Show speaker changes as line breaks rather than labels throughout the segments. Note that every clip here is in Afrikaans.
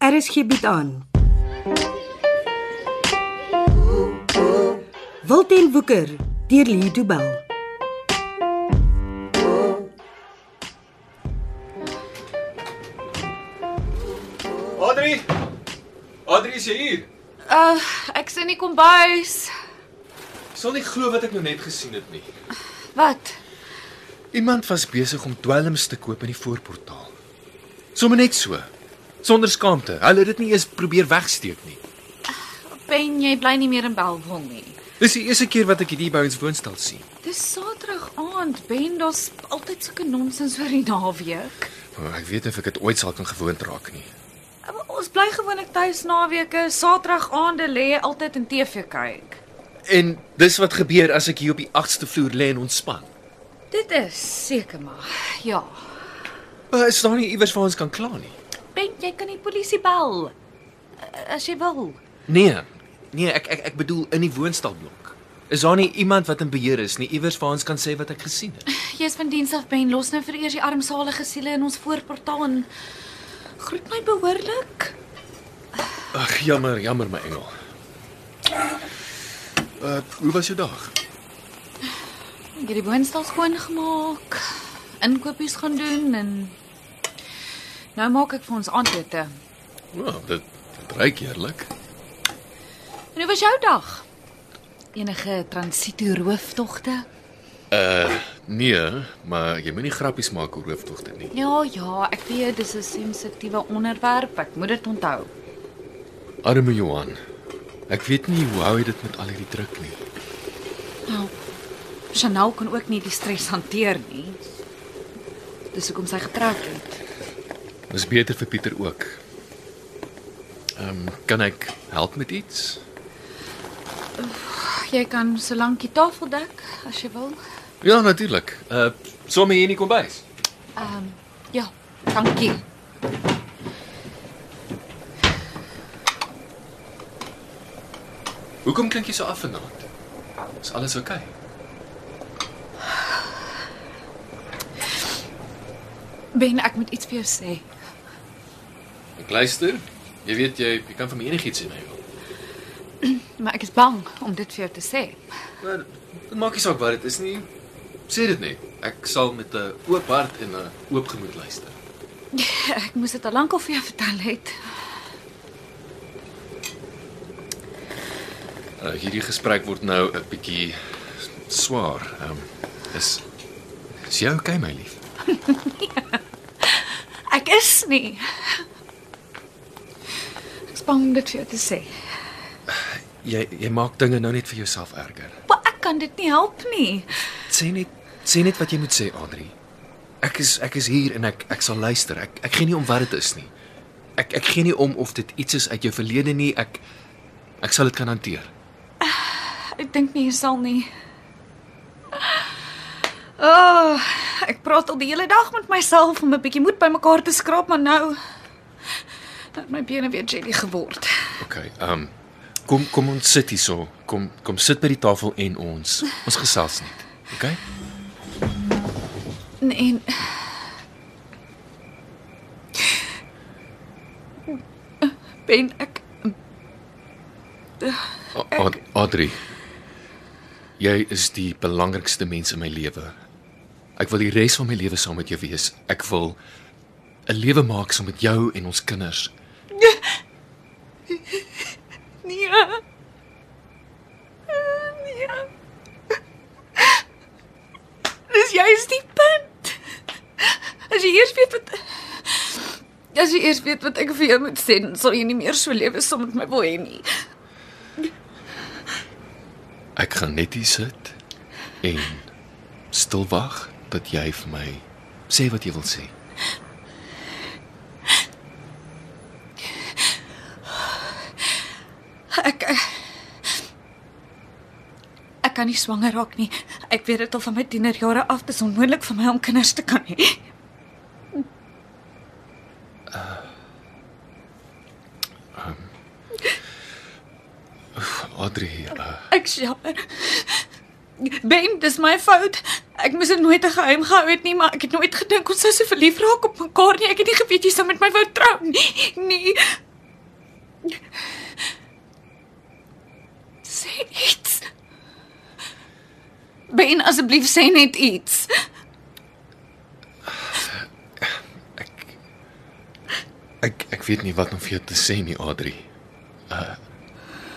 RSG bied Er aan. Wilten Woeker deur Lee Du Bell.
Adri. Adri is jy hier.
Uh, ek's in die kombuis.
Ek Sal nie glo wat ek nou net gesien het nie.
Wat?
Iemand was besig om dwelms te koop in die voorportaal. Sommige net so. Sonder skaamte. Hulle het dit nie eens probeer wegsteek nie.
Ben, jy bly nie meer in Belwel nie.
Dis die eerste keer wat ek hierdie by ons woonstel sien.
Dis Saterdag aand, Ben, daar's altyd sulke nonsens oor die naweek.
Maar ek weet nie of ek dit ooit sal kan gewoond raak nie.
Uh, Ons bly gewoonlik tuis naweke, Saterdag aande lê altyd in TV kyk.
En dis wat gebeur as ek hier op die 8ste vloer lê en ontspan.
Dit is seker maar. Ja.
Maar is daar nie iewers waar ons kan kla nie?
Ben, jy kan die polisie bel. Uh, As jy wil.
Nee. Nee, ek ek ek bedoel in die woonstelblok. Is daar nie iemand wat in beheer is nie, iewers waar ons kan sê wat ek gesien het?
Jy's van diens af, Ben. Los nou vir eers die armsalige siele in ons voorportaal en groet my behoorlik.
Ag, jammer, jammer my engel. Uh, hoe was jou dag?
Ek het die woonstel skoongemaak, inkopies gaan doen en nou maak ek vir ons aandete.
Wel, oh, dit, dit ryk heerlik.
En hoe was jou dag? Enige transito rooftogte?
Nee, maar jy moenie grappies maak oor hooftogte nie.
Ja, ja, ek weet dis 'n sensitiewe onderwerp. Ek moet dit onthou.
Arme Johan. Ek weet nie hoe hou hy dit met al hierdie druk nie.
Nou, Chanel kan ook nie die stres hanteer nie. Dis hoekom sy getrek het.
Dis beter vir Pieter ook. Ehm, um, kan ek help met iets?
Jy kan solank die tafel dek as jy wil.
Ja, natuurlik. Uh, sommer hier in die kombuis.
Ehm um, ja, dankie.
Hoekom klink jy so af vanaand? Is alles oukei? Okay?
Ben, ek moet iets vir jou sê.
Ek luister. Jy weet jy, jy kan van my enigiets sê, my ou.
Maar ek is bang om dit vir jou te sê.
Maar dit maak nie saak wat dit is nie. Sê dit net. Ek sal met 'n oop hart en 'n oop gemoed luister.
Ek moes dit al lank al vir jou vertel het.
Uh, hierdie gesprek word nou 'n bietjie swaar. Ehm um, is is jy okay, my lief?
Ek is nie. Ek is bang om dit vir jou te sê.
Jy jy maak dinge nou net vir jouself erger.
Maar ek kan dit nie help nie.
Sê net sê net wat jy moet sê, Adri. Ek is ek is hier en ek ek sal luister. Ek ek gee nie om wat dit is nie. Ek ek gee nie om of dit iets is uit jou verlede nie. Ek ek sal dit kan hanteer.
Ek dink nie jy sal nie. O, oh, ek praat al die hele dag met myself om 'n bietjie moed bymekaar te skraap, maar nou dat my bene weer jelly geword.
Okay. Ehm um, kom kom ons sit hierso. Kom kom sit by die tafel en ons ons gesels net. Okay?
En, en Ben ek
A- Ad, Adri. Jy is die belangrikste mens in my lewe. Ek wil die res van my lewe saam met jou wees. Ek wil 'n lewe maak saam met jou en ons kinders.
nee. Nee. Dis juist die punt. As jy eers weet wat As jy eers weet wat ek vir jou moet sê, dan sal jy nie meer so lewe saam met my wil hê nie.
Ek gaan net hier sit en stil wag dat jy vir my sê wat jy wil sê.
Ek eh, Ek kan nie swanger raak nie. Ek weet dit al van my tienerjare af, dis onmoontlik vir my om kinders te kan hê.
Adri, uh,
Ek jammer. Ben, dis my fout. Ek moes dit nooit 'n geheim gehou het nie, maar ek het nooit gedink ons sou so verlief raak op mekaar nie. Ek het nie geweet jy sou met my wou trou nie. Nee. Sê iets. Ben asseblief sê net iets.
Ek ek ek weet nie wat om vir jou te sê nie, Adri. Uh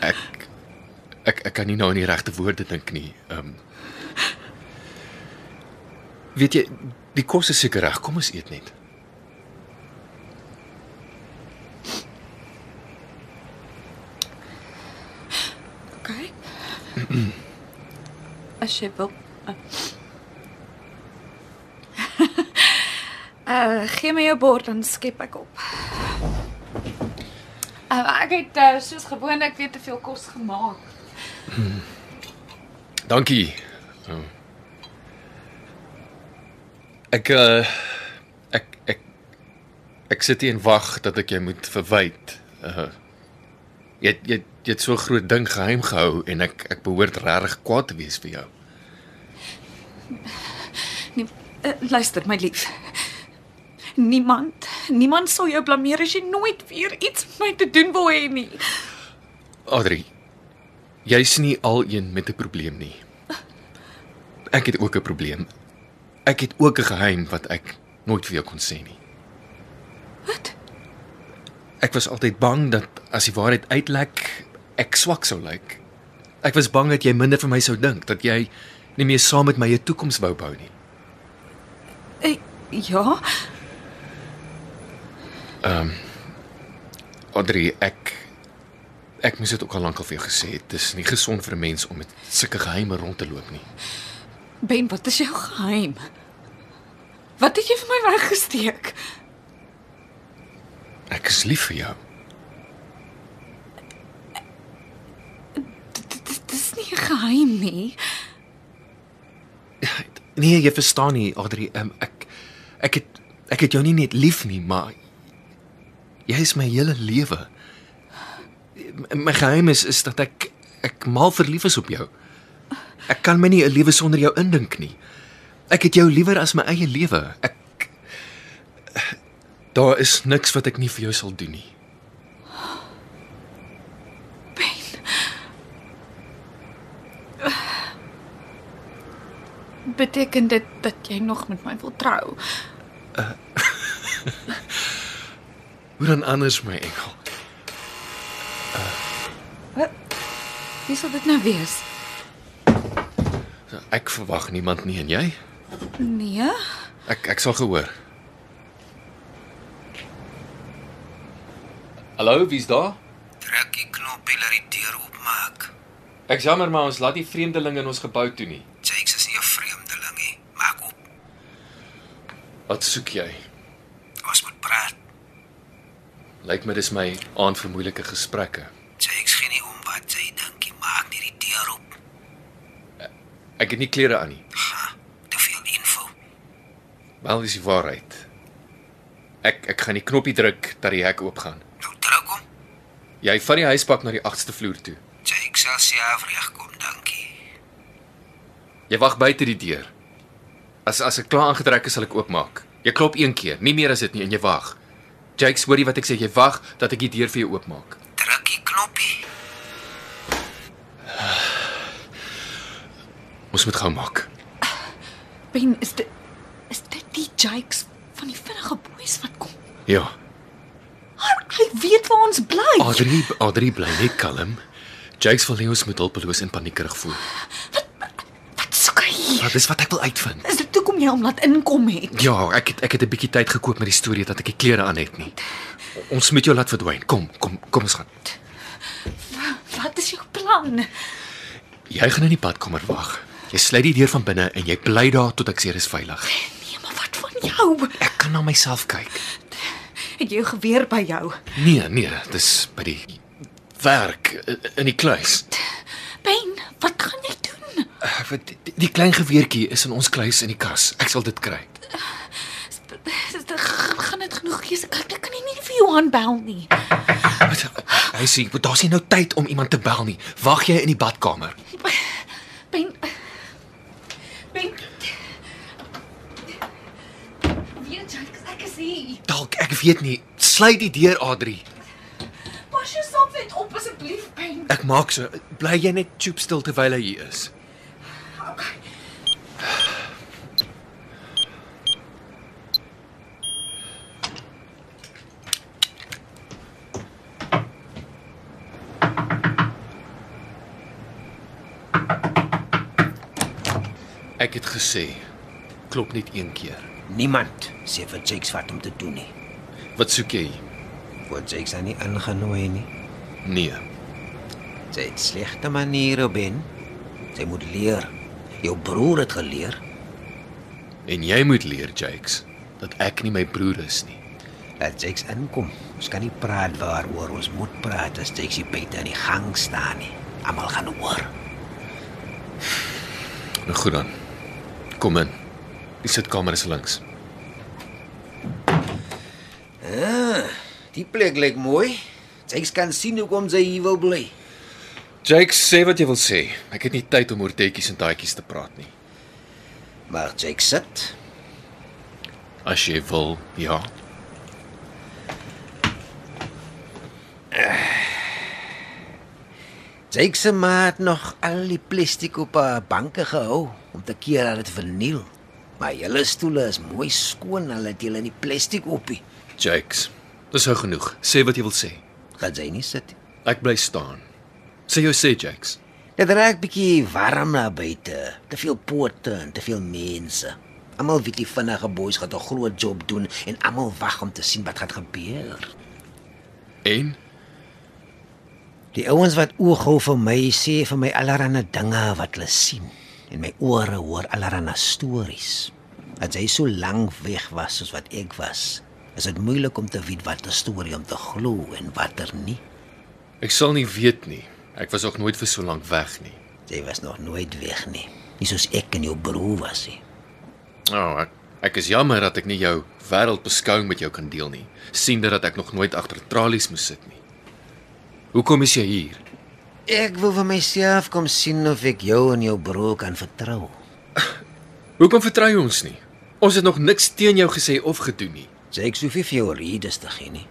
ek ek ek kan nie nou aan die regte woorde dink nie. Ehm um, Weet jy, die kos is seker reg. Kom ons eet net.
OK. As jy wil. Uh, gee my jou bord dan skep ek op. Uh, ek het uh, soos gewoonlik weer te veel kos gemaak.
Dankie. Ehm, Ek uh, ek ek ek sit hier en wag dat ek jou moet verwyd. Uh jy het- jy het- jy het so 'n groot ding geheim gehou en ek ek behoort regtig kwaad te wees vir jou.
Nee, uh, luister my lief. Niemand, niemand sal jou blameer as jy nooit weer iets met my te doen wil hê nie.
Adri, jy's nie al een met 'n probleem nie. Ek het ook 'n probleem. Ek het ook 'n geheim wat ek nooit vir jou kon sê nie.
Wat?
Ek was altyd bang dat as die waarheid uitlek, ek swak sou lyk. Ek was bang dat jy minder van my sou dink, dat jy nie meer saam met my 'n toekoms wou bou nie.
Uh, ja.
Adri, ek ek moes dit ook al lank al vir jou gesê het. Dit is nie gesond vir 'n mens om met sulke geheime rond te loop nie.
Ben, wat is jou geheim? Wat het jy vir my weggesteek?
Ek is lief vir jou.
Dit- Dit dit is nie 'n geheim nie.
Nee, jy verstaan nie, Adri. Um, ek ek het ek het jou nie net lief nie, maar jy is my hele lewe. M- My geheim is is dat ek ek mal verlief is op jou. Ek kan my nie 'n lewe sonder jou indink nie. Ek het jou liewer as my eie lewe. Ek daar is niks wat ek nie vir jou sal doen nie.
Beteken dit dat jy nog met my wil trou?
Hoe dan anders, my engel?
Wie sal dit nou wees?
Ek verwag niemand nie en jy?
Nee.
Ek ek sal gehoor. Hallo, wie's daar?
Druk die knoppie dat die deur oopmaak.
Ek jammer maar ons laat nie vreemdelinge in ons gebou toe nie.
Jakes is nie 'n vreemdeling nie. Maak op.
Wat soek jy?
Ons moet praat.
Lyk my dis my aand vir moeilike gesprekke.
Jakes gee nie om wat jy dink nie. Maak net die deur oop.
Ek het nie klere aan nie.
Ha, te veel info.
Wel dis die waarheid. Ek ek gaan die knoppie druk dat die hek oopgaan.
Nou druk hom.
Jy vat die huispak na die 8ste vloer toe.
Jakes sal self regkom, dankie.
Jy wag buite die deur. As as ek klaar aangetrek is, sal ek oopmaak. Jy klop een keer, nie meer as dit nie en jy wag. Jakes, hoorie wat ek sê, jy wag dat ek die deur vir jou oopmaak.
Druk die knoppie.
Ons moet gou maak.
Ben, is dit is dit die Jakes van die vinnige boeis wat kom?
Ja.
Maar hy weet waar ons bly.
Adri, Adri bly net kalm. Jakes wil nie ons moet hulpeloos en paniekerig voel.
Wat soek hy hier?
Maar Ja, dis wat ek wil uitvind.
Is dit toe kom jy hom laat inkom het?
Ja, ek het, ek het 'n bietjie tyd gekoop met die storie dat ek die klere aan het nie. Ons moet jou laat verdwyn. Kom, kom, kom ons gaan.
Wat is jou plan? Nee,
Jy gaan in die badkamer wag. Jy sluit die deur van binne en jy bly daar tot ek seker is veilig.
Nee, maar wat van jou?
Ek kan na myself kyk.
Het jy jou geweer by jou?
Nee, nee, dis by die werk i- in die kluis.
Ben, wat gaan jy doen?
Eh, wat- Die, die klein geweertjie is in ons kluis in die kas. Ek sal dit kry.
Is dit gaan dit genoeg wees? Ek ek kan nie nie vir Johan bel nie.
Wat- eh, Hy sê, "Maar daar's nie nou tyd om iemand te bel nie. Wag jy in die badkamer."
Ben Ben Weet jy, ek is hier.
Dalk, ek weet nie. Sluit die deur, Adri.
Pas jou saam
Ek maak so. Bly jy net choop stil terwyl hy hier is. Ek het gesê, klop net een keer.
Niemand sê vir Jakes wat om te doen nie.
Wat soek jy?
Word Jakes aan nie ingenooi nie.
Nee.
Sy het slegte maniere, Ben. Sy moet leer. Jou broer het geleer.
En jy moet leer, Jakes, dat ek nie my broer is nie.
Laat Jakes inkom. Ons kan nie praat waaroor ons moet praat as Jakes hier buite in die gang staan nie. Almal gaan hoor.
Nou goed dan. Kom in. Die sitkamer is links.
Die plek lyk mooi. Jakes kan sien hoekom sy hier wil bly.
Jakes, sê wat jy wil sê. Ek het nie tyd om oor tetjies en taatjies te praat nie.
Maar Jakes sit.
As jy wil, ja.
Jakes se ma het nog al die plastiek op haar banke gehou om te keer dat dit verniel. Maar julle stoele is mooi skoon, hulle het julle nie plastiek op nie.
Jakes, dis nou genoeg. Sê wat jy wil sê.
Gaan sy nie sit nie.
Ek bly staan. Sê jou sê, Jakes.
Dit raak bietjie warm na buite. Te veel poorte en te veel mense. Almal weet die vinnige boeis gaan 'n groot job doen en almal wag om te sien wat gaan gebeur.
En
Die ouens wat ooghou vir my sê vir my allerlei dinge wat hulle sien en my ore hoor allerlei stories. As hy so lank weg was soos wat ek was, is dit moeilik om te weet watter storie om te glo en watter nie.
ek sal nie weet nie. Ek was ook nooit vir so lank weg nie.
Jy was nog nooit weg nie. Nie soos ek en jou broer was nie.
Nou, oh, ek ek is jammer dat ek nie jou wêreldbeskouing met jou kan deel nie, siende dat ek nog nooit agter tralies moes sit nie. Hoekom is jy hier?
Ek wil vir myself kom sien of ek jou en jou broer kan vertrou.
Hoekom vertrou jy ons nie? Ons het nog niks teen jou gesê of gedoen nie.
Sê ek sou vir jou redes te gee nie.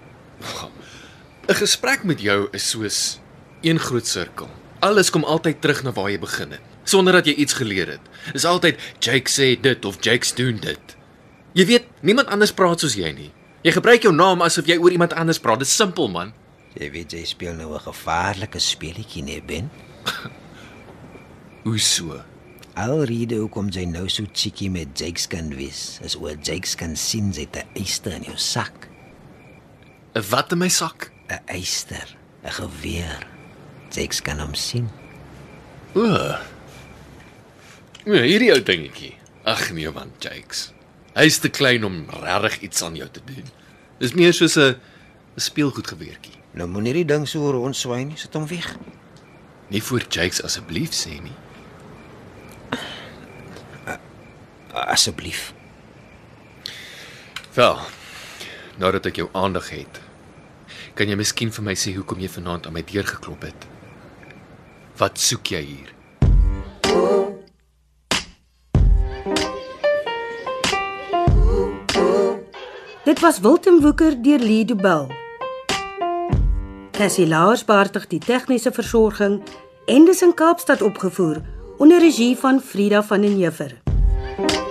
'n Gesprek met jou is soos een groot sirkel. Alles kom altyd terug na waar jy begin het, sonder dat jy iets geleer het. Dis altyd Jake sê dit of Jake doen dit. Jy weet, niemand anders praat soos jy nie. Jy gebruik jou naam asof jy oor iemand anders praat. Dis simpel, man.
Jy weet jy speel nou 'n gevaarlike speletjie nee Ben.
Hoe so?
Alrede hoekom jy nou so cheeky met Jakes kan wees, is oor Jakes kan sien jy het 'n eister in jou sak.
'n Wat in my sak?
'n Eister, 'n geweer. Jakes kan hom sien.
O. Ja, hierdie ou dingetjie. Ag nee man, Jakes. Hy's te klein om regtig iets aan jou te doen. Dis meer soos 'n 'n speelgoedgeweertjie.
Nou moenie die ding so rond swaai nie, sit hom weg.
Nie voor Jakes asseblief sê nie.
Asseblief.
Wel, nou dat ek jou aandag het, kan jy miskien vir my sê hoekom jy vanaand aan my deur geklop het? Wat soek jy hier?
Dit was Wilten Woeker deur Lee Du Bell. Cassie Lars beheerdig die tegniese versorging en dis in Kaapstad opgevoer onder regie van Frida van den Heever.